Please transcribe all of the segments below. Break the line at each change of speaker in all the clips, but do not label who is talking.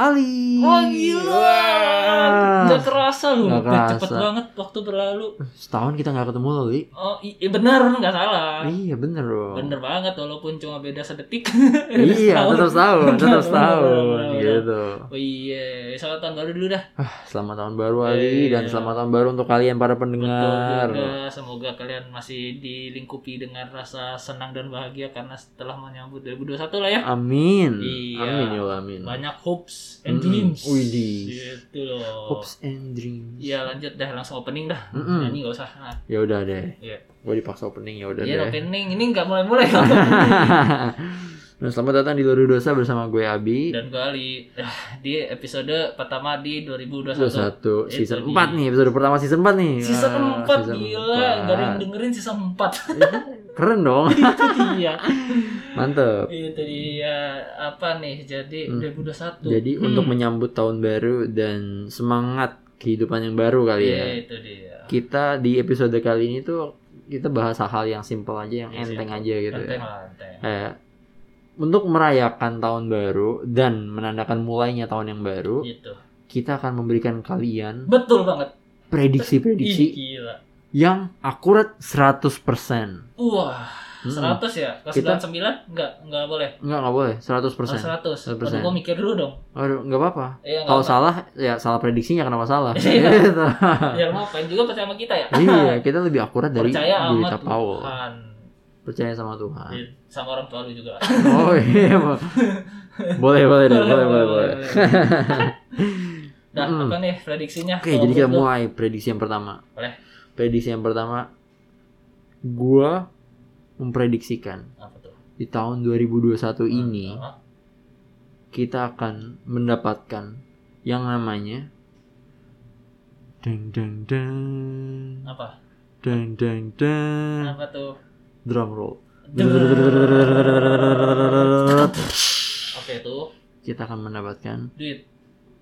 Ali.
Wah gila.
Hmm. Wah.
Gak kerasa lu.
Nggak
Udah
kerasa.
Cepet banget waktu berlalu.
Setahun kita nggak ketemu loh, Li.
Oh i- i- bener nggak salah.
Iya bener loh.
Bener banget walaupun cuma beda sedetik.
Iya,
Setahun.
tetap setahun, tetap setahun
Bener, bener,
gitu.
Oh iya, selamat tahun baru dulu dah.
Ah, selamat tahun baru Ali
Iya.
dan selamat tahun baru untuk kalian para
Betul
pendengar.
juga. Semoga kalian masih dilingkupi dengan rasa senang dan bahagia karena setelah menyambut 2021 lah ya.
Amin.
Iya.
Amin ya Allah, amin.
Banyak hopes and
Mm-mm.
dreams.
Widih.
Gitu loh.
Hopes and dreams.
Iya lanjut dah langsung opening dah.
Mm-mm.
Nyanyi gak usah. Nah,
Ya udah deh.
Iya.
Gue dipaksa opening ya udah
iya
deh.
opening ini nggak mulai-mulai.
Nah, selamat datang di Lori Dosa bersama gue Abi.
dan kali di episode pertama di 2021.
21
Itu
season
di-
4 nih, episode pertama season 4 nih.
Eh, Season
Ah,
4 gila, gak ada yang dengerin season 4
Keren dong.
Itu dia
Iya. Mantep.
Itu dia Apa nih, jadi
Hmm.
2021
Jadi
Hmm.
untuk menyambut tahun baru dan semangat kehidupan yang baru kali
Iya,
ya.
itu dia
Kita di episode kali ini tuh kita bahas hal yang simpel aja, yang
Iya,
enteng
simpel.
aja gitu
Enteng
ya.
lah, enteng
Kayak, untuk merayakan tahun baru dan menandakan mulainya tahun yang baru,
Gitu
kita akan memberikan kalian
Betul banget Ih,
prediksi-prediksi
gila
yang akurat 100%.
Wah,
Hmm.
100 ya? Ke
Kita-
99? Enggak, enggak boleh
Enggak, enggak boleh,
Ke
100%.
100
100%.
Aduh, gua mikir dulu dong
Aduh, enggak apa-apa.
Iya,
Kalau
enggak
salah, ya salah prediksinya kenapa salah.
Iya.
Gitu.
apa Ya, lu ngapain juga percaya sama kita ya?
iya, kita lebih akurat dari
Percaya sama
berita Paul. Nah.
Tuhan Iya.
Percaya sama Tuhan.
Sama orang tua lu juga
Oh iya. Bo- boleh, boleh deh, boleh, boleh, boleh.
Nah,
Mm.
apa nih prediksinya?
Oke,
Kalau
jadi kita
menurut
mulai prediksi yang pertama.
Boleh.
Prediksi yang pertama gua memprediksikan
lu, apa tuh?
di tahun 2021 ini
Heeh.
kita akan mendapatkan yang namanya deng deng deng
apa?
deng deng deng
Apa tuh?
drum roll.
Oke tuh,
Kita akan mendapatkan
duit.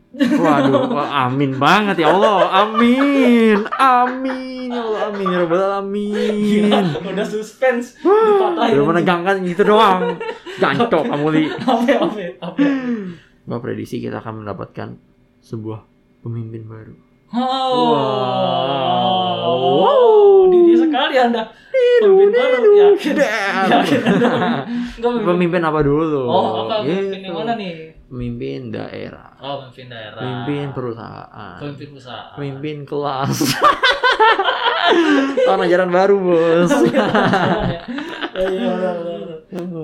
Waduh, wah, amin banget ya Allah, amin, amin, ya Allah, amin, ya Rabbal alamin.
Udah suspense.
Wah, Udah menegangkan gitu doang, gancok kamu li.
Apa apa apa?
Gua prediksi kita akan mendapatkan sebuah pemimpin baru.
Wow.
Wow.
Diri sekali Anda. Pemimpin baru ya. yakin. Yakin Anda. Enggak pemimpin.
Pemimpin apa dulu?
ya. Oh, apa pemimpin
Gitu.
yang mana nih?
Pemimpin daerah,
Oh, pemimpin daerah.
pemimpin perusahaan,
pemimpin usaha.
pemimpin kelas. Tahun ajaran baru bos.
Iya, benar, benar.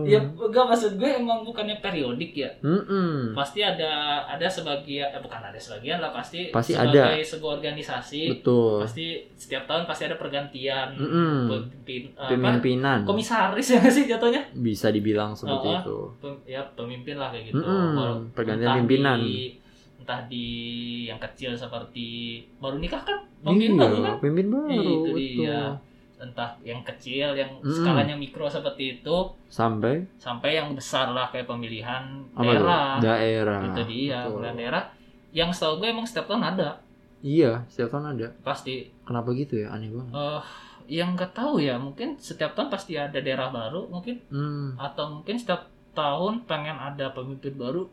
Ya,
Hmm.
enggak maksud gue emang bukannya periodik ya.
Mm-mm.
Pasti ada ada sebagian eh, bukan ada sebagian lah pasti
Pasti
sebagai sebuah organisasi
Betul. Hmm.
pasti setiap tahun pasti ada pergantian
Mm-mm.
pemimpin eh, apa
Pemimpinan
komisaris ya nggak sih jatuhnya?
bisa dibilang seperti
Oh,
itu.
Pem- ya pemimpin lah kayak gitu.
Mm-mm.
Walau-
Hmm, Pergantian
entah
pimpinan.
di- entah di yang kecil seperti baru nikah kan
Iya,
mungkin baru kan
pemimpin baru.
Itu
betul.
dia. entah yang kecil yang
Mm-mm.
skalanya mikro seperti itu
Sampai
sampai yang besar lah kayak pemilihan
apa tuh?
daerah
Daerah.
itu dia
Betul.
pemilihan Gitu, iya, daerah yang setahu gue emang setiap tahun ada
Iya, setiap tahun ada.
pasti
Kenapa gitu ya? Aneh banget.
eh yang nggak tahu ya mungkin setiap tahun pasti ada daerah baru mungkin
Hmm.
atau mungkin setiap tahun pengen ada pemimpin baru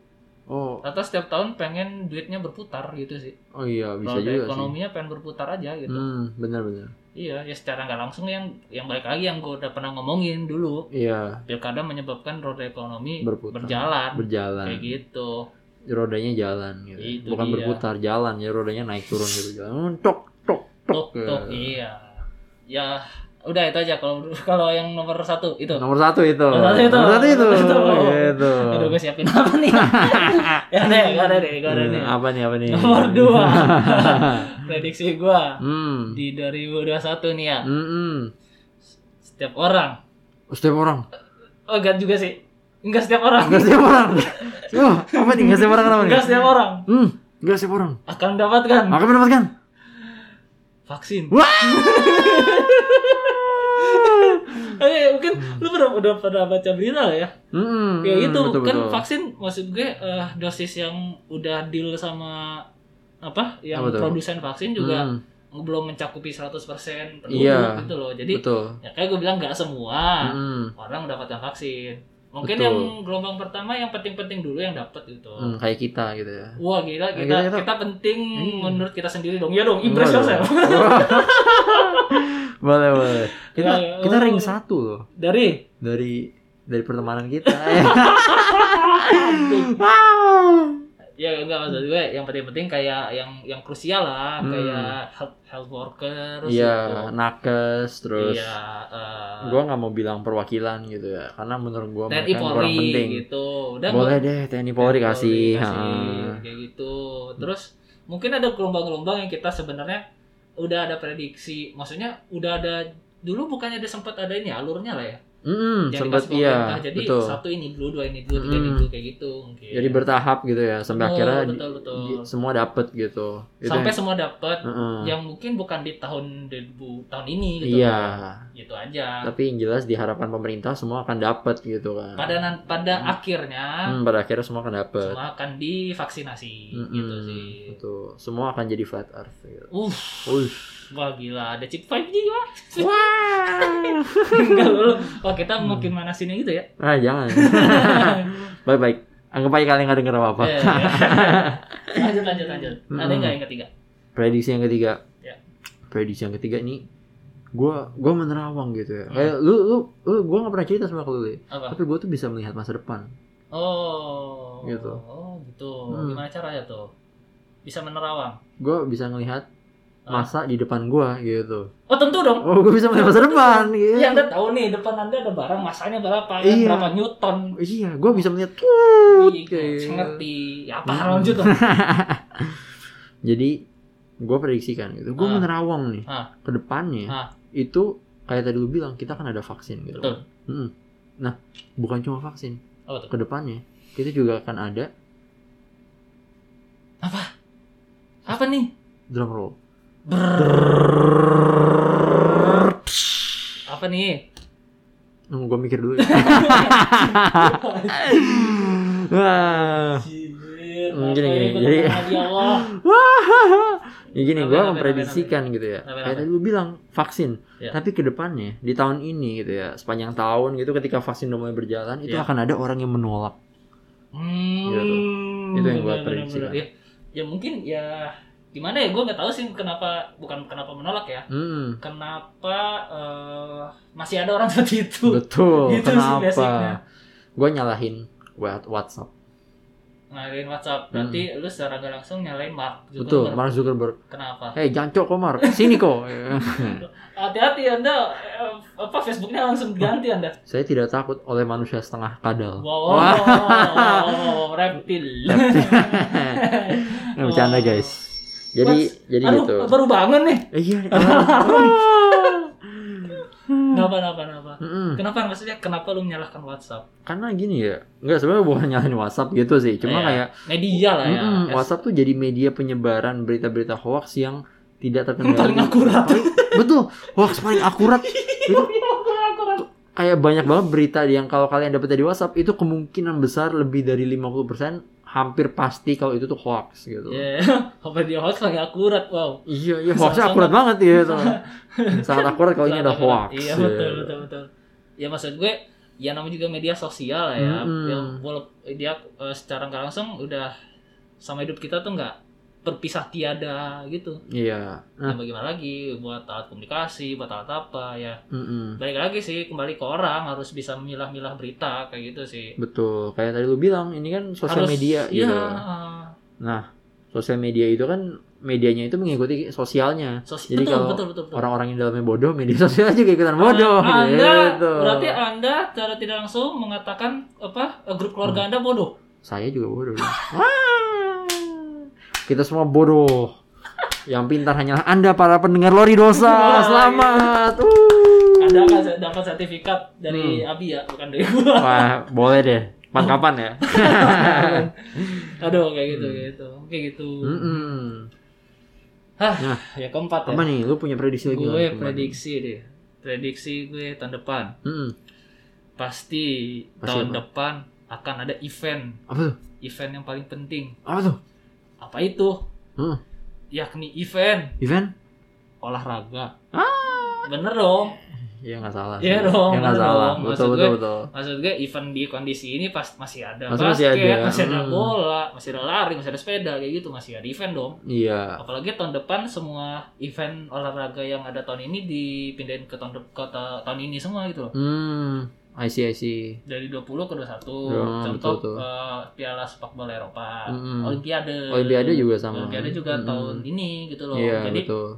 Oh,
atau setiap tahun pengen duitnya berputar gitu sih
oh iya bisa
Roda
juga sih.
ekonominya pengen berputar aja gitu
Hmm, benar-benar.
iya ya secara nggak langsung yang yang balik lagi yang gue udah pernah ngomongin dulu
Iya,
pilkada menyebabkan roda ekonomi
berputar.
berjalan
Berjalan.
kayak gitu
Rodanya jalan gitu.
Itu
Bukan
dia.
berputar, jalan ya rodanya naik turun gitu jalan. Tok tok tok.
tok tok iya ya udah itu aja kalau kalau yang nomor satu itu
Nomor satu itu.
iya. Nomor satu itu.
Nomor satu itu.
Nomor satu.
Gitu.
Aduh gue siapin apa nih? ya deh, gak ada deh, gak ada
Hmm,
deh.
apa nih apa nih?
Nomor dua. Prediksi gue
hmm.
di 2021 nih ya.
Mm-mm.
Setiap orang.
Setiap orang.
Oh enggak juga sih. Enggak setiap orang.
Enggak setiap orang. Oh, apa nih? Enggak setiap orang kenapa nih?
Enggak setiap orang
Hmm, enggak setiap orang.
akan mendapatkan
Akan mendapatkan.
vaksin.
Wah.
Eh, mungkin lu pernah udah pernah baca berita lah ya.
Hmm.
Ya itu
betul,
kan
betul.
vaksin maksud gue eh, dosis yang udah deal sama apa yang
Apa tuh?
produsen vaksin juga
Hmm,
belum mencakupi 100% penduduk
Iya.
gitu loh. Jadi
betul.
ya kayak gue bilang nggak semua
Hmm.
orang mendapatkan vaksin. Mungkin
Betul.
yang gelombang pertama yang penting-penting dulu yang dapat gitu.
Hmm, kayak kita gitu ya.
Wah gila kita,
Nah,
kita,
kita-
penting
Hmm.
menurut kita sendiri dong. Ya dong, impress
Waduh.
yourself.
boleh boleh. Kita
Ya, ya.
kita ring satu loh
Dari
dari dari pertemanan kita.
Aduh.
Ah.
ya enggak maksud gue yang penting-penting kayak yang yang krusial lah
Hmm.
kayak health, health workers
Iya,
gitu.
nakes terus.
Iya, eh,
Gua nggak mau bilang perwakilan gitu ya, karena menurut gua
TNI
mereka kurang
Polri
penting.
gitu. Udah
Boleh
nggak?
deh TNI Polri kasih. Ha.
Iya, kayak gitu. Terus mungkin ada gelombang-gelombang yang kita sebenarnya udah ada prediksi. Maksudnya udah ada dulu bukannya ada sempat ada ini alurnya lah ya.
Mm,
Yang
sempat
dikasih
iya,
pemerintah. Jadi
betul.
satu ini dulu, dua ini dulu, tiga ini
Mm-mm.
dulu kayak gitu. mungkin.
Jadi bertahap gitu ya, sampai
Betul,
akhirnya di-
betul, betul.
di- semua dapet gitu. Hmm. Itu
sampai
yang-
semua dapat
Heeh.
yang mungkin bukan di tahun 2000 tahun ini gitu.
Iya,
Gitu aja.
tapi yang jelas diharapkan pemerintah semua akan dapet gitu kan.
Pada nan- pada
Hmm.
akhirnya
Hmm, pada akhirnya semua akan dapet.
semua akan divaksinasi
Mm-mm,
gitu sih.
betul. Semua akan jadi flat earth gitu.
Uff,
Ush.
wah gila ada chip 5G wah.
Wah.
Enggak lulu.
Hmm.
Wah, kita makin mana sini gitu ya.
ah, jangan. Baik-baik. Anggap aja kalian nggak denger apa-apa.
Eh, iya. lanjut lanjut lanjut. Ada
Mm-mm.
nggak yang ketiga?
prediksi yang ketiga
Ya.
prediksi yang ketiga ini gua gua menerawang gitu ya
Hmm.
kayak lu lu lu gue nggak pernah cerita sama ke lu Li.
Apa?
tapi gua tuh bisa melihat masa depan
Oh.
Gitu.
Oh, gitu.
Hmm.
Gimana caranya tuh? Bisa menerawang.
gua bisa ngelihat
Ah.
masa di depan gua gitu
Oh, tentu dong.
oh gua bisa melihat masa depan gitu
Iya, Anda tahu nih depan Anda ada barang masanya berapa, kan?
Iya.
berapa newton.
iya gua bisa melihat tut,
Iya,
kayak-
saya ngerti. Ya apa
Hmm.
hmm. lanjut tuh?
jadi gua prediksikan gitu gua
Ah.
menerawang nih
Ah.
ke depannya
Ah.
itu kayak tadi lu bilang kita kan ada vaksin gitu
Betul.
Mm-mm. nah bukan cuma vaksin
Apa tuh?
kedepannya kita juga akan ada
Apa nih?
drum roll
Apa nih?
Hmm, gue mikir dulu. ya. Ah. Wah. Hmm,
Anjir, apa
gini,
ini
gini,
gua
jadi-
tenang lagi, Allah.
ya gini,
Apa,
gue
apa,
memprediksikan gitu ya.
Apa,
Kayak
apa?
tadi lu bilang vaksin,
Ya.
tapi ke depannya di tahun ini gitu ya, sepanjang tahun gitu ketika vaksin udah mulai berjalan, itu
Ya.
akan ada orang yang menolak.
Hmm,
Gitu tuh. Itu yang gua
bener-bener,
prediksikan.
bener. Ya, ya mungkin ya gimana ya gue nggak tahu sih kenapa bukan kenapa menolak ya
Hmm,
kenapa eh, masih ada orang seperti itu
betul.
Gitu sih basicnya.
Kenapa? Gue nyalahin Wa- WhatsApp.
ngalahin WhatsApp berarti lu secara nggak langsung nyalain Mark
Hmm. Betul,
Zuckerberg.
Mark Zuckerberg.
kenapa
Hei, jancok Komar, sini kok.
hati-hati anda eh, apa Facebooknya langsung ganti anda
Saya tidak takut oleh manusia setengah kadal.
wow,
Wah.
reptil
Nggak bercanda guys. Jadi
Mas,
jadi
Aduh,
gitu.
baru bangun nih
Eh, Iya.
kenapa kenapa kenapa
Mm-mm.
kenapa maksudnya kenapa lu menyalahkan WhatsApp
Karena gini ya, nggak sebenarnya bukan nyalahin WhatsApp gitu sih, cuma
Iya.
kayak
media lah ya
mm-mm,
Es-
WhatsApp tuh jadi media penyebaran berita-berita hoax yang tidak terkendali.
Paling akurat.
Paling- betul, hoax paling akurat. Itu kayak banyak banget berita yang kalau kalian dapat dari WhatsApp itu kemungkinan besar lebih dari 50% hampir pasti kalau itu tuh hoax gitu.
Ya, apa dia hoax lagi akurat, wow.
Iya, iya
Sangat-
hoaxnya akurat banget ya. itu. Sangat akurat kalau ini ada hoax.
Akurat. Iya,
ya.
betul, betul, betul. Ya maksud gue, ya namanya juga media sosial lah ya.
Mm-mm.
Yang walaupun dia eh, secara nggak langsung udah sama hidup kita tuh nggak berpisah tiada gitu.
Iya.
Ya bagaimana lagi buat alat komunikasi, buat alat apa ya.
Mm-mm.
Balik lagi sih kembali ke orang harus bisa memilah-milah berita kayak gitu sih.
Betul. Kayak tadi lu bilang ini kan sosial
Harus-
media
Iya,
gitu.
eh,
Sosial media itu kan medianya itu mengikuti sosialnya.
sos-
Jadi
betul,
kalau
betul, betul, betul.
Orang-orang yang dalamnya bodoh, media sosial juga ikutan bodoh
Ah, Nah, Anda
gitu.
berarti Anda secara tidak langsung mengatakan apa eh, grup keluarga Anda bodoh.
Saya juga bodoh. Wah. Kita semua bodoh. Yang pintar hanyalah Anda para pendengar Lori
Wah, iya.
Dosa. Selamat. Uh. Wuh.
Anda kan? akan se- dapat sertifikat dari
Hmm.
Abi ya, bukan dari gua.
Wah, boleh deh. Pan kapan ya?
Aduh kayak gitu
Hmm.
gitu. Oke gitu.
Mm-mm.
Ya keempat ya.
Apa nih? Lu punya prediksi lagi?
Gue
nggak?
prediksi deh. Prediksi gue tahun depan
Mm-mm.
pasti,
Pasti
tahun
apa?
depan akan ada event,
Apa tuh?
event yang paling penting.
Apa tuh?
Apa itu?
Hmm.
Yakni event
Event?
olahraga.
Ah.
Bener dong.
ya nggak salah
Iya
sih.
dong,
ya nggak
bener
salah
dong.
betul
Maksud
betul
gue-
betul
maksud gue even di kondisi ini pas masih ada
Masih- masih
basket,
ada.
masih ada
Hmm.
bola, masih ada lari, masih ada sepeda kayak gitu, masih ada event dong.
iya
Apalagi tahun depan semua event olahraga yang ada tahun ini dipindahin ke tahun de- ke ta- tahun ini semua gitu loh.
hmm I see I see
Dari 20 ke 21.
Ya,
Contoh
betul tuh.
eh, Piala Sepak Bola Eropa,
Mm-mm.
Olimpiade.
Olimpiade juga sama
Eh, Olimpiade juga
Mm-mm.
tahun ini gitu loh.
iya
Jadi
betul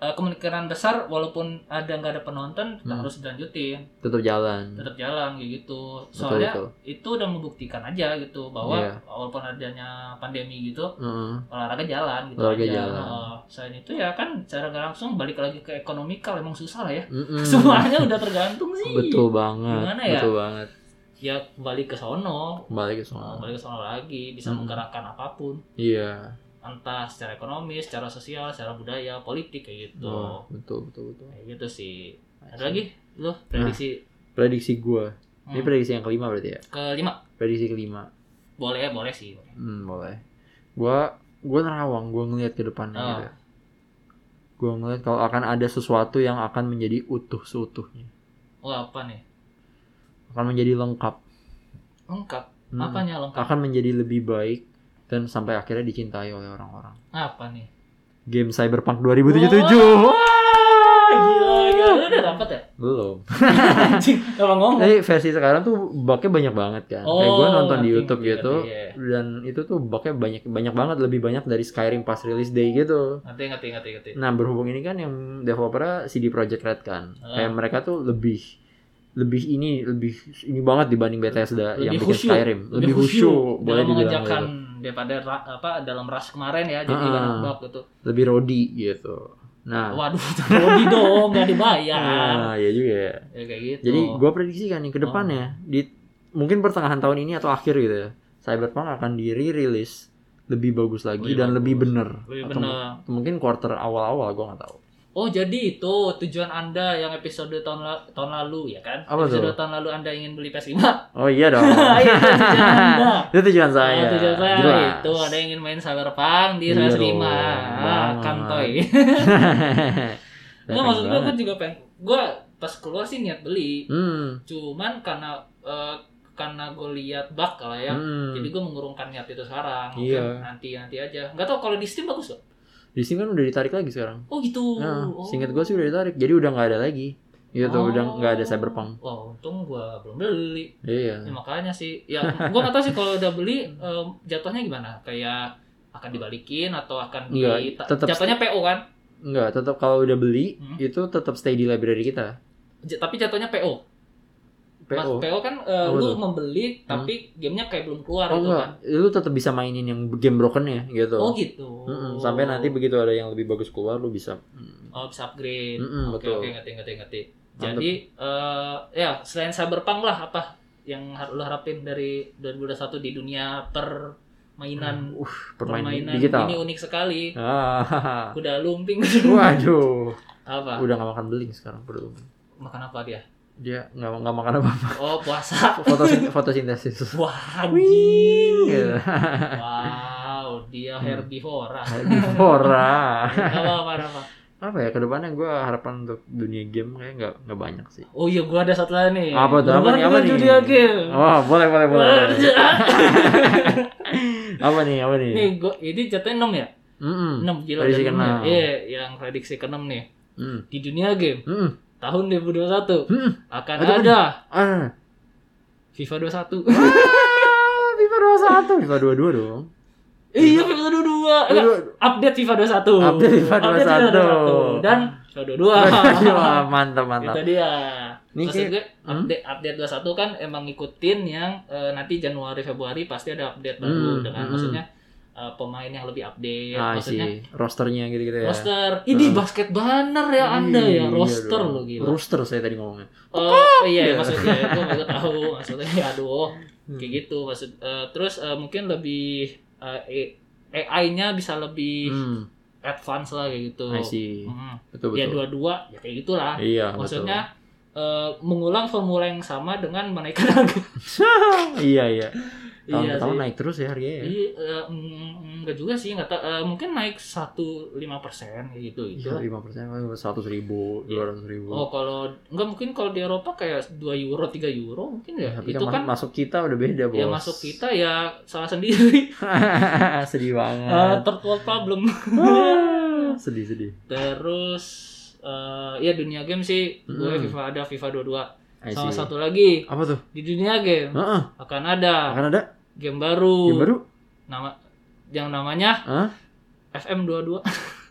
eh, kemungkinan besar walaupun ada nggak ada penonton kita
Hmm.
harus dilanjutin,
tetap jalan
tetap jalan kayak gitu.
betul
Soalnya
betul
itu udah membuktikan aja gitu bahwa
Iya.
walaupun adanya pandemi gitu
Heeh.
olahraga jalan gitu
Olahraga
aja.
jalan.
Heeh. selain itu ya kan secara nggak langsung balik lagi ke ekonomikal emang susah lah ya.
Mm-mm.
Semuanya udah tergantung sih.
Hmm. betul banget
Gimana ya?
betul banget
Ya kembali ke sono,
kembali ke
Heeh,
soal
balik ke sono lagi bisa
Hmm.
menggerakkan apapun
iya
entah secara ekonomi, secara sosial, secara budaya, politik kayak gitu.
Wah, betul betul betul
Kayak gitu sih. Ada lagi lu prediksi
prediksi gua ini
Hmm.
prediksi yang kelima berarti ya
kelima?
prediksi kelima
Boleh, boleh sih.
Hmm, boleh. Gua gua nerawang, gua ngelihat ke depannya
Ah.
gitu. Gua ngelihat kalau akan ada sesuatu yang akan menjadi utuh seutuhnya,
Oh, apa nih?
akan menjadi lengkap.
Lengkap.
Hmm.
Apanya lengkap?
Akan menjadi lebih baik dan sampai akhirnya dicintai oleh orang-orang.
Apa nih?
Game Cyberpunk 2077.
Wah, Gila, gila. Lu udah dapat ya?
Belum.
Anjing, kalau ngomong.
Tapi versi sekarang tuh bugnya banyak banget kan. Eh, Kayak gua nonton di
Oh, ngerti,
YouTube
ngerti,
gitu
ngerti, iya.
dan itu tuh bugnya banyak banyak banget lebih banyak dari Skyrim pas release day gitu.
Ngerti, ngerti, ngerti, ngerti.
Nah berhubung ini kan yang developernya CD Projekt Red kan,
Ah.
kayak mereka tuh lebih lebih ini lebih ini banget dibanding Bethesda yang bikin
khusyuk.
Skyrim, lebih khusyuk, boleh
dalam
dibilang
mengejarkan
gitu.
daripada ra- apa dalam ras kemarin ya jadi
Ah.
banyak bug gitu.
lebih rodi gitu. Nah,
Waduh, Rodi dong nggak dibayar.
nah, ya juga. ya.
Ya kayak gitu.
Jadi gua prediksi kan yang ke
Oh.
depannya di mungkin pertengahan tahun ini atau akhir gitu ya, Cyberpunk akan di rilis lebih bagus lagi
Lebih
dan
bagus.
lebih bener.
Lebih
Atau
benar.
mu- mungkin quarter awal-awal gua nggak tahu.
Oh jadi itu tujuan anda yang episode tahun la- tahun lalu ya kan?
Apa
episode
tuh?
tahun lalu anda ingin beli PS5?
Oh iya dong.
Ah, Itu tujuan anda.
itu tujuan saya.
Nah, tujuan saya
Jelas.
itu ada yang ingin main Cyberpunk di
Iya
PS5.
dong,
Ah,
banget.
kantoy. Nggak
Datang
maksud gue,
banget.
gue juga pengen. Gue pas keluar sih niat beli,
Hmm.
cuman karena eh, karena gue lihat bug lah ya.
hmm.
Jadi gue mengurungkan niat itu sekarang. Mungkin
Iya.
Nanti nanti aja. Gak tau kalau di Steam bagus loh.
Di sini kan udah ditarik lagi sekarang.
Oh gitu.
Nah,
oh.
singkat gue sih udah ditarik. Jadi udah nggak ada lagi. Iya tuh, udah nggak ada cyberpunk.
Wah, Oh, untung gue belum beli.
Iya.
Ya, makanya sih, ya gua nggak tahu sih kalau udah beli em, jatuhnya gimana? Kayak akan dibalikin atau akan di
Nggak,
ta-
tetap-
jatuhnya PO kan?
Enggak, tetap kalau udah beli
Hmm.
itu tetap stay di library kita.
J- tapi jatuhnya PO. Mas,
PO.
PO kan eh,
Apa
lu
tuh?
membeli tapi gamenya kayak belum keluar
Oh
gitu kan.
enggak, lu tetap bisa mainin yang game broken ya gitu.
Oh gitu.
Mm-mm, Sampai nanti begitu ada yang lebih bagus keluar lu bisa. Mm.
oh, bisa upgrade.
Mm-mm,
oke,
betul.
oke, ngerti, ngerti, ngerti.
Mantep.
Jadi eh, ya selain Cyberpunk lah apa yang har- lu harapin dari 2021 di dunia permainan
Uh, permainan,
permainan
digital.
ini unik sekali.
Ah,
Kuda lumping.
Waduh,
apa?
udah nggak makan beling sekarang perlu.
makan apa dia?
Dia nggak nggak makan apa
Oh puasa.
Fotosin- fotosintesis.
Wah,
Gitu.
anjing. Wow, dia
Hmm.
herbivora.
Herbivora.
apa apa apa.
apa ya kedepannya gue harapan untuk dunia game kayak nggak nggak banyak sih.
Oh iya, gua ada satu lagi nih.
Apa tuh? Apa
Bukan
nih? Apa
dengan
nih?
Julia Game.
Oh Iya. boleh boleh boleh. apa nih apa nih?
nih, gua ini jatuhnya 6 ya?
Mm-mm.
6 gila
Hmm. Prediksi
udah enam ya?
keenam.
Iya, yang prediksi ke-6 nih.
Mm.
Di dunia game
Mm-mm.
tahun 2021
Mm-mm.
akan
Hmm. Aduh.
ada
Ah.
FIFA 21.
Ah, FIFA 21 FIFA 22 dong
iya, FIFA 22. Eh, update FIFA 21.
Update FIFA 21.
Dan FIFA 22.
Wah, mantap mantap
Itu dia.
Ini
Maksud
kayak-
gue
Hmm?
update update 21 kan emang ngikutin yang eh, nanti Januari Februari pasti ada update
Hmm,
baru dengan
hmm.
maksudnya eh, pemain yang lebih update
ah
iya, maksudnya
sih rosternya gitu gitu ya
roster. Ini
Hmm.
basket banner ya Anda ya
Iya
roster
dong.
lo gila.
roster saya tadi ngomongnya
Oh
Iya.
iya maksudnya gue nggak tahu maksudnya ya, aduh
Hmm.
kayak gitu maksud eh, terus eh, mungkin lebih eh, AI-nya bisa lebih
hmm.
advance lah kayak gitu.
I see
Hmm.
betul
Ya
betul
dua-dua ya kayak gitulah.
iya betul.
Maksudnya eh, mengulang formula yang sama dengan menaikkan harga.
iya iya tahun
Iya
ke tahun
sih.
naik terus ya harganya. ya.
Iya, eh, mm, enggak juga sih, enggak tahu. Eh, mungkin naik 1 5% gitu gitu.
Iya, lima persen, seratus ribu,
Iya.
dua ratus ribu.
Oh, kalau enggak mungkin kalau di Eropa kayak 2 euro, 3 euro mungkin ya.
Iya, Tapi
itu kan
masuk kita udah beda bos.
ya masuk kita ya salah sendiri.
sedih
Eh,
banget.
third world problem.
Ah, sedih sedih.
Terus eh ya dunia game sih gue
Hmm.
FIFA ada FIFA 22.
I see.
Sama satu Ah. lagi
Apa tuh?
di dunia game
Heeh.
akan ada
Akan ada
game baru.
game baru?
Nama yang namanya
Hah?
FM22.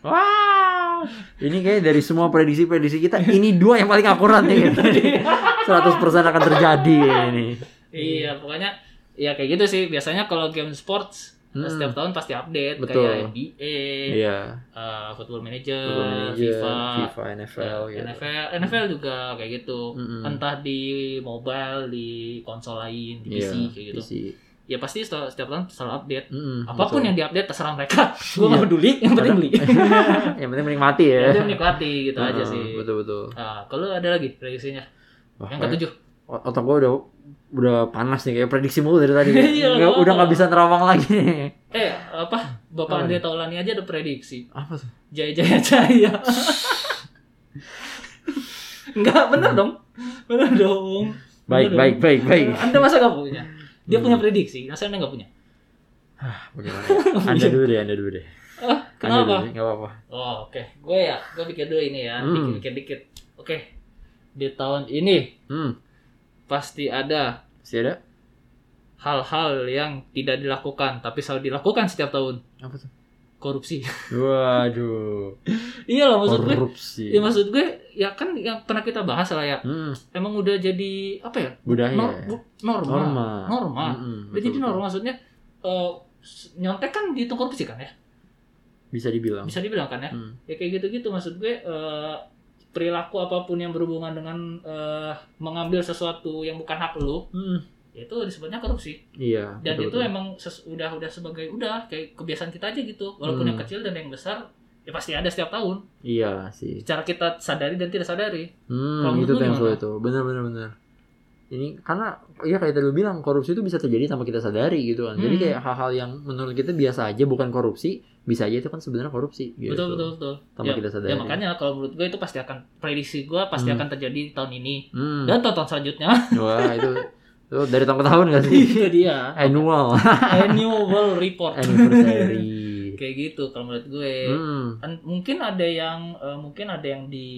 Wow. Ini kayaknya dari semua prediksi-prediksi kita ini dua yang paling akurat nih. 100% akan terjadi ini.
Iya, pokoknya ya kayak gitu sih. Biasanya kalau game sports
Hmm.
setiap tahun pasti update
Betul.
kayak NBA,
Iya.
eh, Football Manager,
Football Manager,
FIFA,
FIFA, NFL
eh,
gitu.
NFL, NFL juga kayak gitu.
Mm-mm.
Entah di mobile, di konsol lain, di
Iya,
PC kayak gitu.
PC.
Ya pasti setiap, setiap tahun selalu update.
Mm-mm,
Apapun
betul.
yang diupdate terserah mereka. Gue
Iya.
nggak peduli, yang penting beli.
yang penting menikmati ya.
Jadi menikmati gitu aja
Heeh,
sih.
Betul betul.
Nah, kalau ada lagi prediksinya
Wah,
yang
kayak
ketujuh.
otak gua udah udah panas nih kayak prediksi mulu dari tadi.
Iya,
Nggak-
gua-
udah nggak bisa nerawang lagi. nih.
Eh, apa?
Apa
Bapak
nih?
Andre Taulani aja ada prediksi.
Apa tuh?
Jaya Jaya Jaya. Enggak bener dong. Bener dong.
Baik
Bener
baik
dong. Iya.
baik baik.
Anda masa nggak punya? Dia
Hmm.
punya prediksi, masa Anda nggak punya?
Bagaimana? ya? Anda dulu deh, Anda dulu deh.
Ah,
Anda dulu
kenapa?
deh, nggak apa-apa.
Oh, oke. Gue ya, gue pikir dulu ini ya,
Hmm.
pikir dikit. Oke. Di tahun ini
Hmm,
pasti ada
masih ada?
hal-hal yang tidak dilakukan tapi selalu dilakukan setiap tahun.
Apa tuh?
Korupsi.
Waduh.
iya lah maksud gue.
Korupsi.
Ya maksud gue ya kan yang pernah kita bahas lah ya.
Hmm,
Emang udah jadi apa ya?
budaya.
Nor- bu- norma.
Iya. Norma. Hmm,
norma.
Mm-mm,
Jadi
betul-betul.
normal maksudnya eh, s- nyontek kan dihitung korupsi kan ya?
Bisa dibilang.
Bisa dibilang kan ya?
Hmm,
Ya kayak gitu-gitu maksud gue eh, perilaku apapun yang berhubungan dengan eh, mengambil sesuatu yang bukan hak lu
Hmm,
ya itu disebutnya korupsi
Iya.
dan itu
betul-betul.
emang ses- udah udah sebagai udah kayak kebiasaan kita aja gitu walaupun
Hmm.
yang kecil dan yang besar ya pasti ada setiap tahun
Iya sih.
cara kita sadari dan tidak sadari Kalau
Hmm,
menurut
itu tuh
lu
yang
gimana?
sulit tuh. Bener bener bener. Ini karena ya kayak tadi lu bilang korupsi itu bisa terjadi tanpa kita sadari gitu kan. Jadi
Hmm.
kayak hal-hal yang menurut kita biasa aja bukan korupsi, bisa aja itu kan sebenarnya korupsi gitu.
betul betul betul
Tanpa kita sadari.
ya makanya kalau menurut gue itu pasti akan prediksi gue pasti
Hmm.
akan terjadi tahun ini
Hmm.
dan tahun selanjutnya
Wah, itu itu dari tahun ke tahun gak sih?
itu dia
Annual,
annual report
anniversary.
kayak gitu kalau menurut gue
Hmm.
An- Kan mungkin ada yang eh, mungkin ada yang di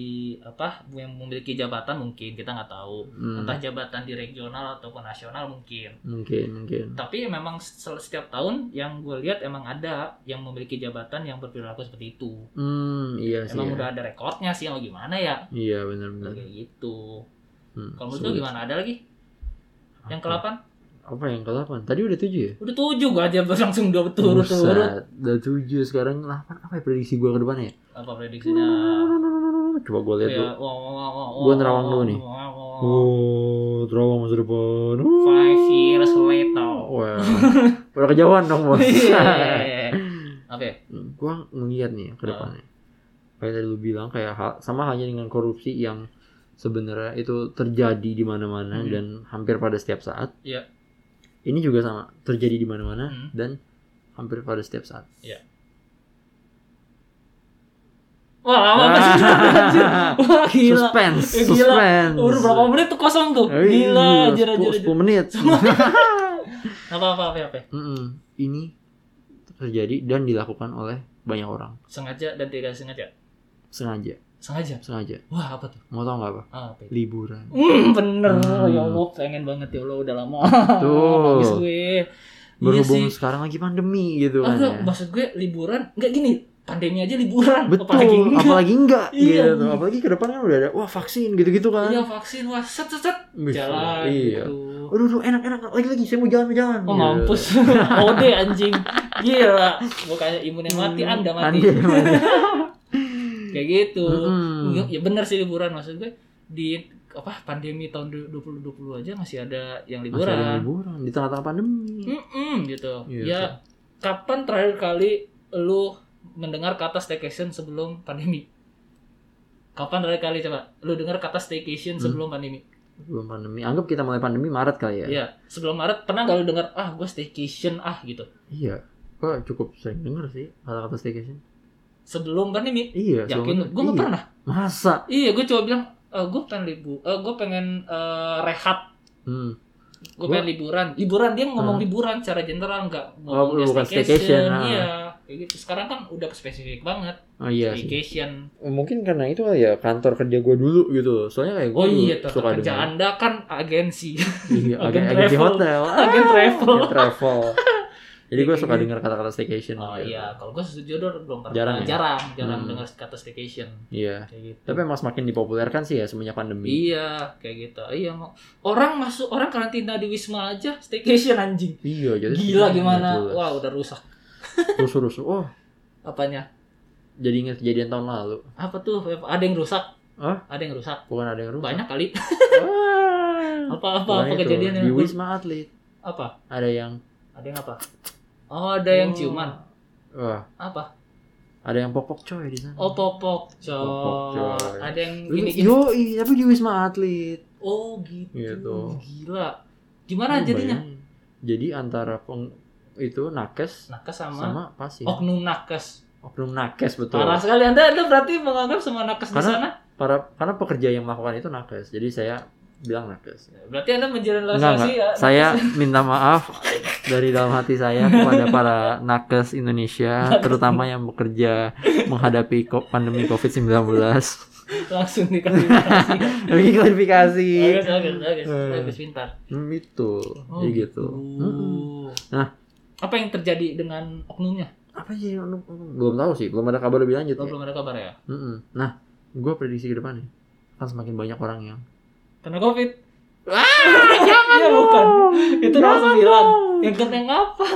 apa yang memiliki jabatan mungkin kita nggak tahu
Hmm.
entah jabatan di regional ataupun nasional mungkin
Mungkin, mungkin.
tapi memang se- setiap tahun yang gue lihat emang ada yang memiliki jabatan yang berperilaku seperti itu
Hmm, iya sih.
emang
ya.
udah ada rekornya sih atau gimana ya
Iya, benar-benar.
kayak gitu
Hmm,
kalau menurut
sulit.
lu gimana ada lagi yang
Apa-
ke-8?
Apa yang ke-8? Tadi udah 7 ya?
Udah tujuh gua aja langsung dua turut-turut.
Buset, Udah 7 sekarang 8 apa ya prediksi gua ke depannya? ya?
Apa prediksinya?
Coba gua lihat dulu.
Ya, wow, wow, wow, wow,
Gua nerawang dulu
wow,
nih.
wow, wow.
Oh, terawang masa depan. Oh.
Five years later.
Wah. Udah kejauhan dong, Bos.
Iya. Oke.
Hmm, gua ngeliat nih ya
Ah.
ke depannya. Kayak tadi lu bilang kayak hal- sama halnya dengan korupsi yang sebenarnya itu terjadi di mana-mana
Hmm.
dan hampir pada setiap saat.
Iya.
Ini juga sama, terjadi di mana-mana
Hmm.
dan hampir pada setiap saat.
Wah, lama banget sih. anjir. Wah, gila.
Nah. Suspense,
Eh, gila.
suspense. Eh, iya,
Udah berapa menit tuh kosong tuh?
Wih,
Gila, anjir anjir.
10,
anjir.
10 menit.
Apa apa apa apa.
Mm-mm. Ini terjadi dan dilakukan oleh banyak orang.
Sengaja dan tidak sengaja.
Sengaja,
Sengaja.
sengaja.
Wah, apa tuh?
Mau tau nggak apa?
Ah, Apa itu?
Liburan.
Hmm, bener.
Hmm.
Ya Allah, pengen banget ya Allah udah lama.
Tuh.
Habis gue.
Berhubung
Iya sih.
sekarang lagi pandemi gitu kan. ya.
Enggak, maksud gue liburan. Enggak gini, pandemi aja liburan.
Betul,
Apalagi
apalagi
enggak.
enggak,
Iya.
gitu. Apalagi ke depan kan udah ada wah vaksin gitu-gitu kan.
Iya vaksin, wah set set set
Wih,
jalan
Iya.
gitu.
Aduh, aduh, enak enak lagi-lagi saya mau jalan-jalan. Iya.
Oh mampus, ode anjing, gila, bukannya imun yang mati, anda mati, kayak gitu.
Mm-mm.
Ya benar sih liburan maksud gue di apa pandemi tahun du- 2020 aja masih ada yang
Masih ada yang
liburan.
liburan di tengah-tengah pandemi.
Mm-mm, gitu.
Iya,
ya kapan terakhir kali lu mendengar kata staycation sebelum pandemi? Kapan terakhir kali coba lu dengar kata staycation
Hmm.
sebelum pandemi?
Belum pandemi. Anggap kita mulai pandemi Maret kali ya.
Iya. Sebelum Maret pernah gak lu dengar ah gue staycation ah gitu.
Iya. Gua cukup sering denger sih kata-kata staycation.
Sebelum pandemi.
Iya.
Yakin lu?
sebelum-
Gue nggak
iya.
pernah.
Masa?
Iya gue coba bilang gue pengen libu. gue pengen eh, rehat.
Hmm.
Gue
Gua-
pengen liburan. Liburan dia ngomong
Ah.
liburan secara general nggak
Oh,
dia
bukan staycation, ah.
Iya. Kayak gitu. Sekarang kan udah spesifik banget.
Oh iya sih.
Staycation.
Mungkin karena itu kali ya kantor kerja gue dulu gitu. Soalnya kayak gue
Oh iya, tuh,
suka
kerja
dengan
anda kan agensi,
iya, agen,
Agen
agensi
travel.
hotel. Ah,
agen travel.
agen travel. Jadi gue suka
Iya.
dengar kata-kata staycation.
Oh
gitu.
iya, kalau gue sejujurnya belum pernah.
Jarang ya?
jarang, jarang
Hmm.
dengar kata staycation
Iya.
kayak gitu.
Tapi emang semakin dipopulerkan sih ya semenjak pandemi.
Iya, kayak gitu. Iya, mau orang masuk orang karantina di wisma aja staycation anjing.
Iya, jadi
Gila gimana?
Jelas.
Wah, udah rusak
rusuh-rusuh. Oh,
apanya?
jadi ingat kejadian tahun lalu.
Apa tuh? Ada yang rusak?
Hah?
Ada yang rusak?
Bukan ada yang rusuh.
Banyak kali.
Ah.
Apa-apa
Bukan
apa
itu.
kejadian yang
di
rusak?
Wisma Atlet
Apa?
ada yang
Ada yang apa? Oh, ada yang
Oh.
ciuman.
wah,
Apa?
ada yang popok coy di sana.
Oh, popok.
Popok, coy.
Coy. Ada yang
Ini,
gini-gini.
yo, tapi di Wisma Atlet.
Oh gitu.
Gitu.
Gila.
Lu
Gimana jadinya?
bayangin. Jadi antara peng, itu nakes
Nakes sama,
sama, pasien.
oknum nakes.
Oknum nakes betul.
Parah sekali Anda Anda berarti menganggap semua nakes di
Karena-
sana.
Para karena pekerja yang melakukan itu nakes. Jadi saya bilang nakes.
Berarti Anda
Enggak,
menjelaskan
enggak.
ya.
Saya minta maaf dari dalam hati saya kepada para nakes Indonesia, terutama yang bekerja menghadapi ko- pandemi COVID-19.
langsung diklarifikasi.
Lagi klarifikasi.
Bagus, bagus, bagus.
Eh.
Bagus pintar.
Hmm, itu.
Oh,
Jadi gitu. Mm-mm. Nah.
Apa yang terjadi dengan oknumnya?
Apa sih? lu- lu- Belum tahu sih. Belum ada kabar lebih lanjut.
Lo
ya.
belum ada kabar ya?
Mm-mm. Nah, gue prediksi ke depannya kan semakin banyak orang yang
Karena Covid. Iya, bukan. Itu nomor sembilan. Yang kena yang apa?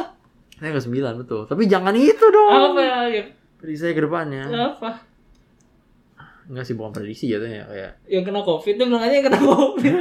Saya ke sembilan betul. Tapi jangan itu dong.
Apa ya? Yang
Prediksi saya ke depannya.
kena apa?
Enggak sih bukan prediksi jatuhnya kayak
Yang kena Covid dia bilang aja yang kena Covid.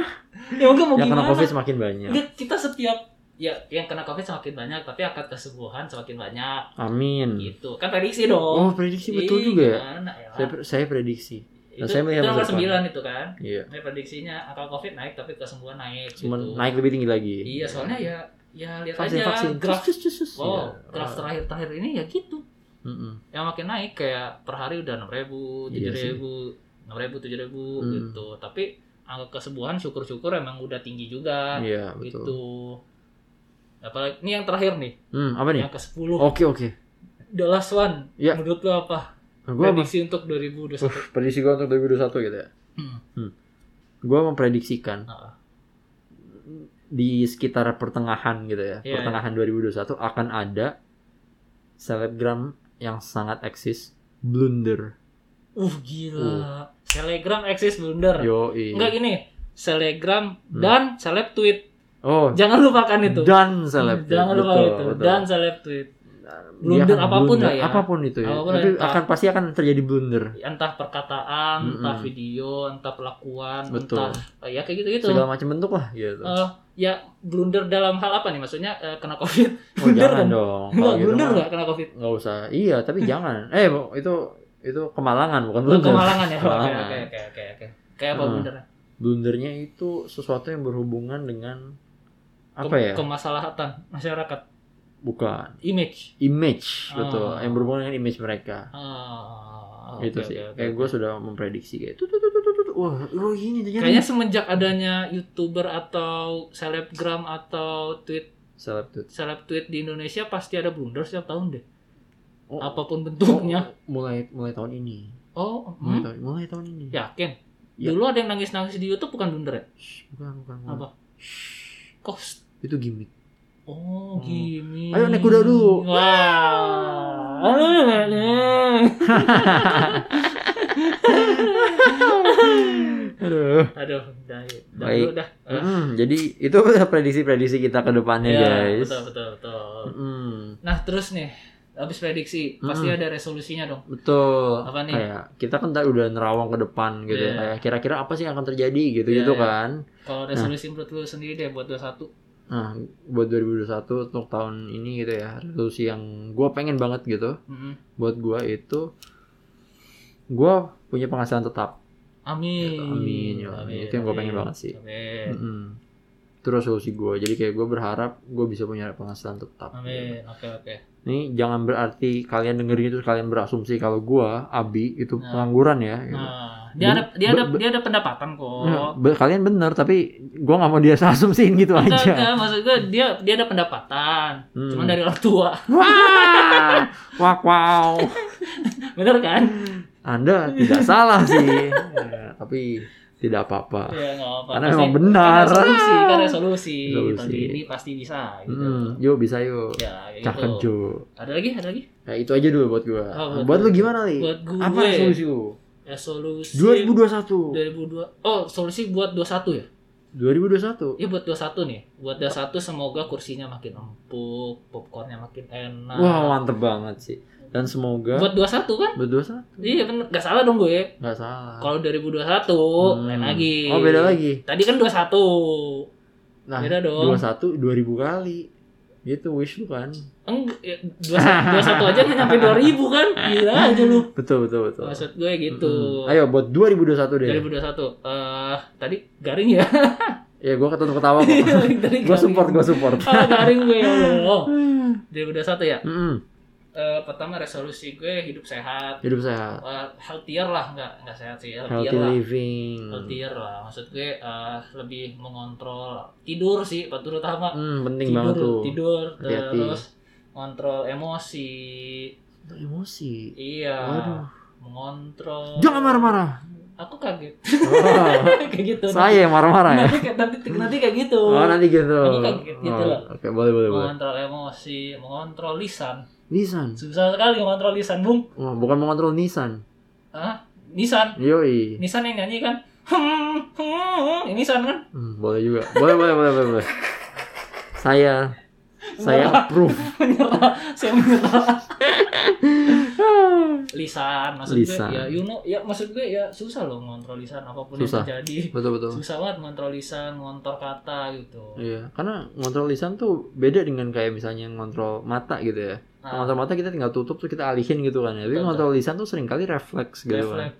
ya mungkin mau
yang kena
gimana? Gitu.
covid semakin banyak.
Enggak, kita setiap ya yang kena covid semakin banyak tapi angka kesembuhan semakin banyak
Amin.
gitu kan prediksi dong
Hmm. Oh prediksi betul
Ih,
juga ya.
gimana ya?
Saya, saya prediksi.
itu,
saya melihat
itu angka
masa depan.
sembilan itu kan
Iya.
Saya prediksinya angka covid naik tapi kesembuhan naik
Cuman
gitu.
naik lebih tinggi lagi.
iya soalnya ya ya lihat
vaksin
aja
vaksin.
graf
Cus, cus, cus, cus.
wow
Iya.
graf terakhir terakhir ini ya gitu
Mm-mm.
yang makin naik kayak per hari udah enam ribu
Iya
tujuh
sih.
ribu enam ribu tujuh ribu
Hmm.
gitu tapi angka kesembuhan syukur syukur emang udah tinggi juga
Iya betul.
gitu apalagi ini yang terakhir nih
Hmm apa nih?
yang ke 10
Oke oke.
The last one
Ya.
menurut lo apa
Nah, Gua apa?
prediksi untuk 2021
prediksi gue untuk 2021 gitu ya.
Hmm. Ah.
Hmm. Gue memprediksikan
Heeh.
di sekitar pertengahan gitu ya,
Iya,
pertengahan 2021 akan ada selebgram yang sangat eksis blunder.
uh gila Telegram eksis blunder
Yo
enggak gitu. gini Telegram dan seleb tweet
Oh,
jangan lupakan itu Hmm,
dan seleb.
jangan lupa
Betul,
itu
betul. Nah,
dan seleb tweet
Dia
blunder
akan
apapun
blunder,
lah ya.
Apapun itu ya.
Apapun
Tapi
yang tak-
akan pasti akan terjadi blunder.
entah perkataan
Mm-mm.
entah video entah pelakuan
Hmm, Betul.
entah eh, ya kayak gitu gitu
Segala macam bentuk lah gitu.
ya blunder dalam hal apa nih maksudnya eh, kena covid
oh,
blunder
jangan
kan?
dong. Kalau
enggak
gitu
blunder
mah
nggak kena covid
nggak usah. Iya, tapi jangan. Eh, itu itu kemalangan bukan
Oh,
blunder.
kemalangan ya oke
Kemalangan.
oke oke oke oke kayak apa
Hmm.
blundernya
blundernya itu sesuatu yang berhubungan dengan apa
Ke-
ya?
kemaslahatan masyarakat
Bukan
image
image
Ah.
betul, yang berhubungan dengan image mereka.
Ah,
gitu
oke,
sih.
oke, oke,
kayak
oke.
gue sudah memprediksi kayak tuh tuh tuh tuh tuh, tuh. Wah, lo ini terjadi.
Kayaknya semenjak adanya youtuber atau selebgram atau tweet
Seleb tuh.
seleb tweet di Indonesia pasti ada blunder setiap tahun deh,
Oh, oh,
apapun bentuknya.
mulai mulai tahun ini.
Oh,
Mulai,
hmm?
tahun, mulai tahun ini.
yakin?
Gitu. Ya.
Dulu ada yang nangis-nangis di YouTube bukan blunder ya?
Shh, bukan, bukan, bukan.
Apa? Kos.
Itu gimmick. Hmm.
Oh, gini.
Ayo naik kuda dulu.
Wah.
Aduh.
Aduh, dah, dah
Baik.
dulu dah. Ah,
Mm, jadi itu prediksi-prediksi kita ke depannya,
ya,
guys.
betul betul betul.
Mm,
Nah, terus nih, habis prediksi, pasti
Hmm.
ada resolusinya dong.
betul.
Apa nih?
Kayak kita kan tadi udah nerawang ke depan gitu ya.
Iya.
Kayak kira-kira apa sih yang akan terjadi gitu-gitu
Iya, iya.
kan.
Kalau resolusi menurut lu sendiri deh buat 21.
Nah, buat 2021 untuk tahun ini gitu ya, resolusi yang gua pengen banget gitu.
Hmm. Mm-mm.
Buat gua itu gua punya penghasilan tetap.
Amin.
Gitu, amin, ya Allah. Itu yang gua pengen
amin.
banget sih.
Amin.
Mm-mm. Itu resolusi gue. Jadi kayak gue berharap gue bisa punya penghasilan tetap.
Amin. Oke, oke.
Nih jangan berarti kalian dengerin itu kalian berasumsi kalau gue Abi itu
Nah.
pengangguran ya. gitu.
Nah, dia ada dia ada dia ada pendapatan kok.
Nah, be- kalian bener tapi gue nggak mau dia asumsiin gitu
Enggak,
aja.
enggak, maksud gue dia dia ada pendapatan,
Hmm.
cuman dari orang tua.
Wah, wah, wow.
Bener kan?
Anda tidak salah sih, Ya, tapi tidak apa-apa.
Iya, enggak apa-apa.
Karena
Pasti-
memang benar.
Kan resolusi, kan resolusi.
Resolusi.
Tahun ini pasti bisa gitu.
Hmm, yuk bisa yuk.
Ya, kayak
Cakep
gitu.
Jo.
Ada lagi, ada lagi.
Ya, itu aja dulu buat gua.
Oh,
Nah,
buat
buat
gua.
lu gimana nih?
Buat gue Ya,
Apa resolusi lu?
Resolusi
2021.
2002. Oh, solusi buat 21 ya?
2021.
Iya buat 21 nih. Buat 21 semoga kursinya makin empuk, popcornnya makin enak.
Wah, mantep banget sih. Dan semoga
Nah. Buat 21 kan?
buat 21
Iya bener, gak salah dong gue.
nggak salah.
Kalau 2021
Hmm.
lain lagi.
Oh, beda lagi.
Tadi kan 21.
Nah,
Beda dong.
21 2000 kali. Gitu wish lu kan.
Enggak, ya, 21, 21 aja nggak nyampe 2000 kan? Gila aja lu.
Betul, betul, betul.
Maksud gue gitu.
Mm-mm. Ayo buat 2021 deh.
2021. Eh, tadi garing ya.
Ya gua ketemu ketawa kok.
tadi
gua support, gua support.
Ah, garing gue ya Allah. 2021 ya.
Mm-mm.
Eh, pertama resolusi gue hidup sehat.
Hidup sehat,
Wah, healthier lah nggak nggak sehat sih healthier
healthy
lah
living.
healthier lah maksud gue eh, lebih mengontrol tidur sih terutama
Hmm, penting
tidur
banget tuh.
tidur
Hati-hati.
terus kontrol emosi
Emosi.
iya
Waduh.
mengontrol
Jangan marah-marah.
aku kaget
Oh,
kayak gitu
saya yang marah-marah ya.
nanti, nanti nanti kayak gitu
Oh, nanti gitu.
Aku kaget gitu
Oh,
loh.
Oke, boleh boleh boleh.
mengontrol emosi mengontrol lisan
Nisan.
susah sekali mengontrol lisan bung
Oh, bukan mengontrol Nisan.
ah nisan
Yoi.
nisan yang nyanyi kan hmm, hmm, ini nisan kan
Hmm, boleh juga. Boleh boleh boleh boleh. boleh. Saya saya approve.
menyerah saya menyerah lisan maksud
Lisan.
gue ya you know ya maksud gue ya susah loh ngontrol lisan apapun
Susah.
yang terjadi
Betul betul.
susah banget ngontrol lisan ngontrol kata gitu
Iya, karena ngontrol lisan tuh beda dengan kayak misalnya ngontrol mata gitu ya.
Nah,
Ngontrol mata kita tinggal tutup tuh kita alihin gitu kan. ya. Tapi
Betul,
ngontrol lisan tuh seringkali refleks gitu kan.
refleks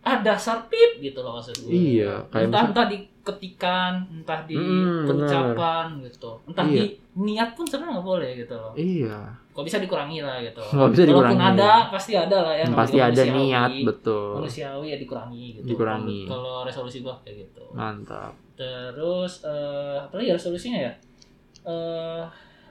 ah dasar pip gitu loh maksud gue
Iya, kayak
entah
misal-
entah di ketikan entah di
Mm, bener.
ucapan gitu entah
Iya.
di niat pun sebenarnya nggak boleh gitu loh
Iya,
kok bisa dikurangi lah gitu
Kalau bisa
walaupun
dikurangi.
ada pasti ada lah ya
pasti
namanya
ada
manusiawi.
niat betul.
manusiawi ya dikurangi gitu
Dikurangi.
kalau resolusi gua kayak gitu
Mantap.
Terus eh apa lagi ya resolusinya ya? Eh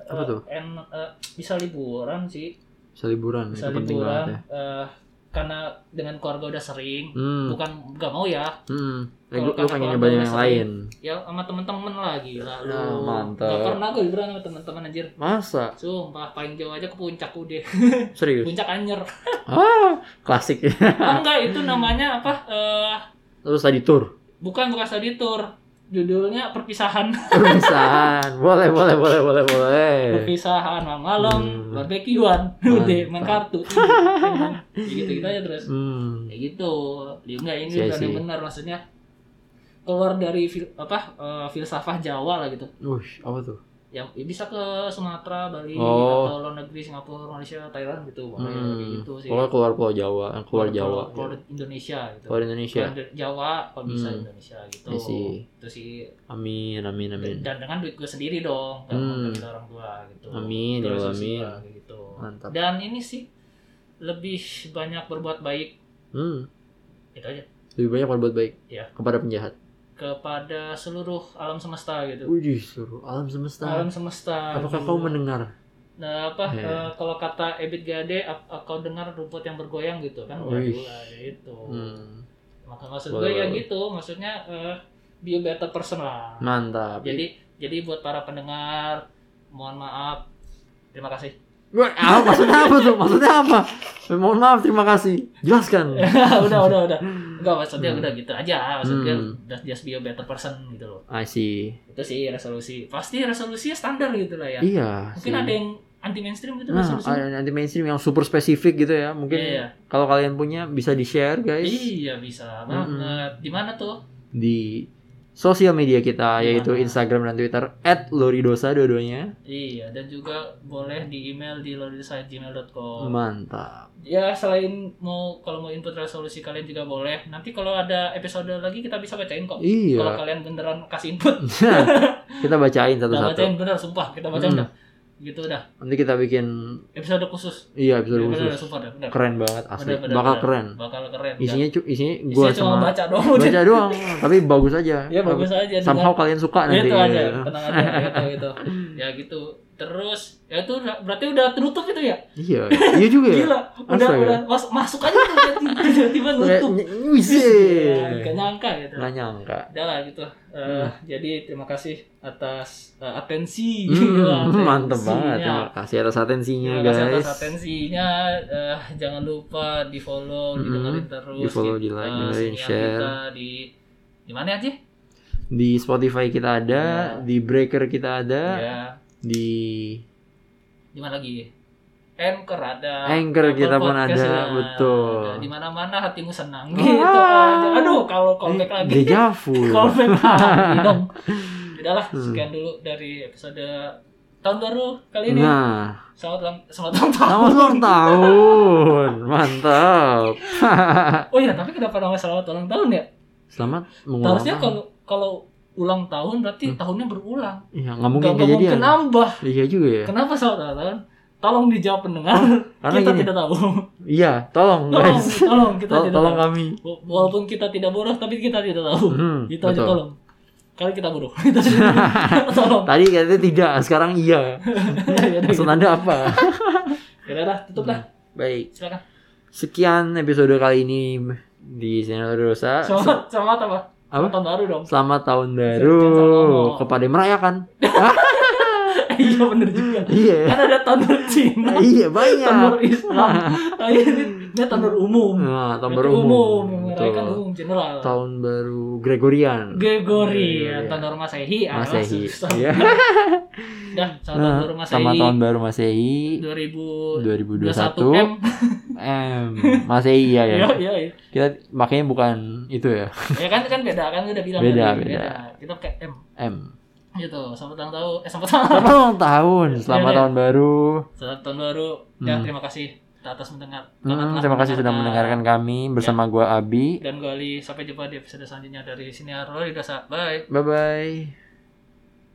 Apa
eh,
tuh?
en- eh, bisa liburan sih,
Bisa liburan,
bisa
itu penting banget ya.
liburan. Eh karena dengan keluarga udah sering,
Hmm.
bukan nggak mau ya,
Hmm. Eh,
Kalau
gua, gua
kakak
pengen
keluarga
nyobain yang
sering.
lain.
ya sama temen-temen lah gila lu.
Ah, mantap.
Nggak pernah gue liburan sama temen-temen anjir.
Masa?
Sumpah paling jauh aja ke puncak udah,
Serius?
puncak anyer.
ah, klasik ya.
Ah, enggak itu namanya apa? Eh
Terus tadi tour.
bukan bukan study tour, judulnya perpisahan.
Perpisahan. boleh, boleh, boleh, boleh, boleh.
perpisahan malam malam
Hmm.
barbekyuan udah main
Mantap.
kartu gitu gitu aja terus
Hmm.
ya gitu dia enggak ini
Iya
udah ada
sih.
benar maksudnya keluar dari fil- apa eh, filsafah Jawa lah gitu
Ush, apa tuh?
yang ya bisa ke Sumatera Bali
Oh.
atau luar negeri Singapura Malaysia Thailand gitu Wah, ya, kayak
Hmm.
gitu sih
Pokoknya keluar Pulau Jawa, eh, keluar Jawa.
keluar, keluar Indonesia gitu
Keluar Indonesia.
Keluar dari Jawa kalau bisa
Hmm.
Indonesia gitu
Iya sih.
itu sih
Amin, amin, amin.
dan dengan duit gue sendiri dong gak
Hmm.
mau dari orang tua gitu
Amin, ya
Terus
Allah,
sih,
amin.
Pak, kayak gitu
Mantap.
dan ini sih lebih banyak berbuat baik
Hmm.
gitu aja
Lebih banyak berbuat baik
Iya.
kepada penjahat.
kepada seluruh alam semesta gitu
Wih, seru. Alam semesta.
alam semesta
Apakah
gitu.
kau mendengar?
nah apa
Iya.
eh, kalau kata Ebit Gade ap- eh, kau dengar rumput yang bergoyang gitu kan
Wih.
Waduh, ada itu
Hmm.
maka maksud
Boleh,
gue ya
boleh.
gitu maksudnya eh, be a better person lah
Mantap.
jadi jadi buat para pendengar mohon maaf terima kasih
Gue, ah, maksudnya apa tuh? Maksudnya apa? Eh, Mohon maaf, terima kasih. Jelaskan.
Eh. udah udah udah enggak maksudnya
Hmm.
udah gitu aja maksudnya
Hmm.
udah just be a better person gitu loh
I see.
itu sih resolusi pasti resolusinya standar gitu lah ya
Iya.
mungkin
sih.
ada yang anti mainstream gitu
Nah,
resolusi
ada anti mainstream yang super spesifik gitu ya. Mungkin
Iya.
kalau kalian punya bisa di share guys
iya bisa banget di mana tuh
di sosial media kita yaitu
Gimana?
Instagram dan Twitter @loridosa dua-duanya.
Iya, dan juga boleh di email di
Iya.
loridosa@gmail.com.
Mantap.
Ya, selain mau kalau mau input resolusi kalian juga boleh. Nanti kalau ada episode lagi kita bisa bacain kok. Oh, Kalau
Iya.
kalian beneran kasih input,
kita bacain
kita
satu-satu.
bacain bener sumpah, kita bacain
Hmm.
dah. Gitu dah.
Nanti kita bikin
Episode khusus.
iya episode
Bener, bener,
khusus.
sumpah dah, bener.
Keren banget asli.
Bener, bener,
Bakal
bener.
keren.
Bakal keren.
Isinya cu isinya
Isinya
gua
cuma
sama
baca doang. udah.
baca doang, tapi bagus aja.
Ya bagus aja.
Somehow kalian suka nanti.
Nanti. Itu aja, tenang aja gitu, gitu. Ya gitu. Terus ya itu udah- berarti udah tertutup itu ya?
Iya. Iya juga ya.
Gila, udah
Astaga.
udah mas- masuk aja tuh, tiba-tiba
Kayak,
nutup.
ny- wih, Nah.
Ya, Gak nyangka gitu.
Nggak nyangka.
Udah lah gitu. Eh,
Hmm.
Jadi terima kasih atas eh, atensi. Gila,
Hmm, mantep
atensinya.
banget. Terima kasih atas atensinya
Terima kasih
Iya, guys.
atas atensinya. Eh, jangan lupa di follow,
Mm-mm.
didengerin terus,
Di-follow, di-like,
eh,
dengerin,
siniar
share.
kita di di mana aja?
Di Spotify kita ada,
Iya.
di Breaker kita ada,
Ya,
di
di mana lagi? Anchor ada.
Anchor
Apple
kita pun
Podcast
ada,
juga
betul.
ada. Di mana-mana hatimu senang
Ah.
gitu aja. Aduh, kalau callback
Eh,
lagi.
Deja vu.
callback lagi dong. Udahlah,
Hmm.
sekian dulu dari episode tahun baru kali ini.
Nah,
Selamat ulang selamat ulang
selamat
tahun.
ulang tahun. Mantap.
Oh iya, tapi kenapa namanya selamat ulang tahun ya?
Selamat mengulang.
Harusnya
tahun.
kalau kalau ulang tahun berarti
Hmm.
tahunnya berulang.
Iya, nggak mungkin
Nggak- nggak
kejadian.
mungkin nambah.
Iya juga ya.
Kenapa selamat ulang tahun? Tolong dijawab pendengar.
Karena
kita
gini,
tidak tahu.
iya, tolong
tolong,
guys.
tolong kita
Tol-
tidak
tolong
tahu.
kami.
Wa- Walaupun kita tidak bodoh, tapi kita tidak tahu.
Hmm,
Itu aja
betul.
tolong. Kali kita bodoh. Itu aja. tolong.
Tadi katanya tidak, sekarang iya.
ya udah,
Maksud Hmm. Anda apa?
gitu. Ya udah, tutup lah.
Baik.
Silakan.
Sekian episode kali ini di Sinar Dosa.
Selamat, selamat apa?
Eh, Apa?
Tahun baru dong.
Selamat tahun
Jangan salah
baru
ngomong.
kepada yang merayakan. Ah,
Iya bener juga.
Iya.
Kan ada tahun baru Cina.
Iya,
Tahun baru
banyak.
Islam. Ah, ini ini tahun baru umum.
Nah, tahun baru
Berarti
umum.
Merayakan
Betul.
umum general.
Tahun baru Gregorian.
Gregory,
Gregorian.
tahun baru Masehi. ah,
Masehi.
susah.
Iya. Nah,
Dah, selamat tahun baru Masehi.
Sama tahun baru Masehi
2021 M.
2021 M Masehi ya ya.
Iya, iya, iya.
Kita makanya bukan itu ya,
Ya kan kan beda kan udah bilang
Beda,
tadi,
beda.
Kita pakai M
M.
gitu. Selamat ulang tahun. Eh, selamat ulang tahun.
Selamat ulang tahun, selamat
Iya, iya.
tahun baru.
Selamat tahun baru. Ya,
Hmm.
terima kasih atas mendengar.
Hmm, terima kasih sudah mendengarkan kami bersama
Iya.
gua Abi.
Dan gue Ali, sampai jumpa di episode selanjutnya dari sini Arlo Dasa. Bye.
Bye bye.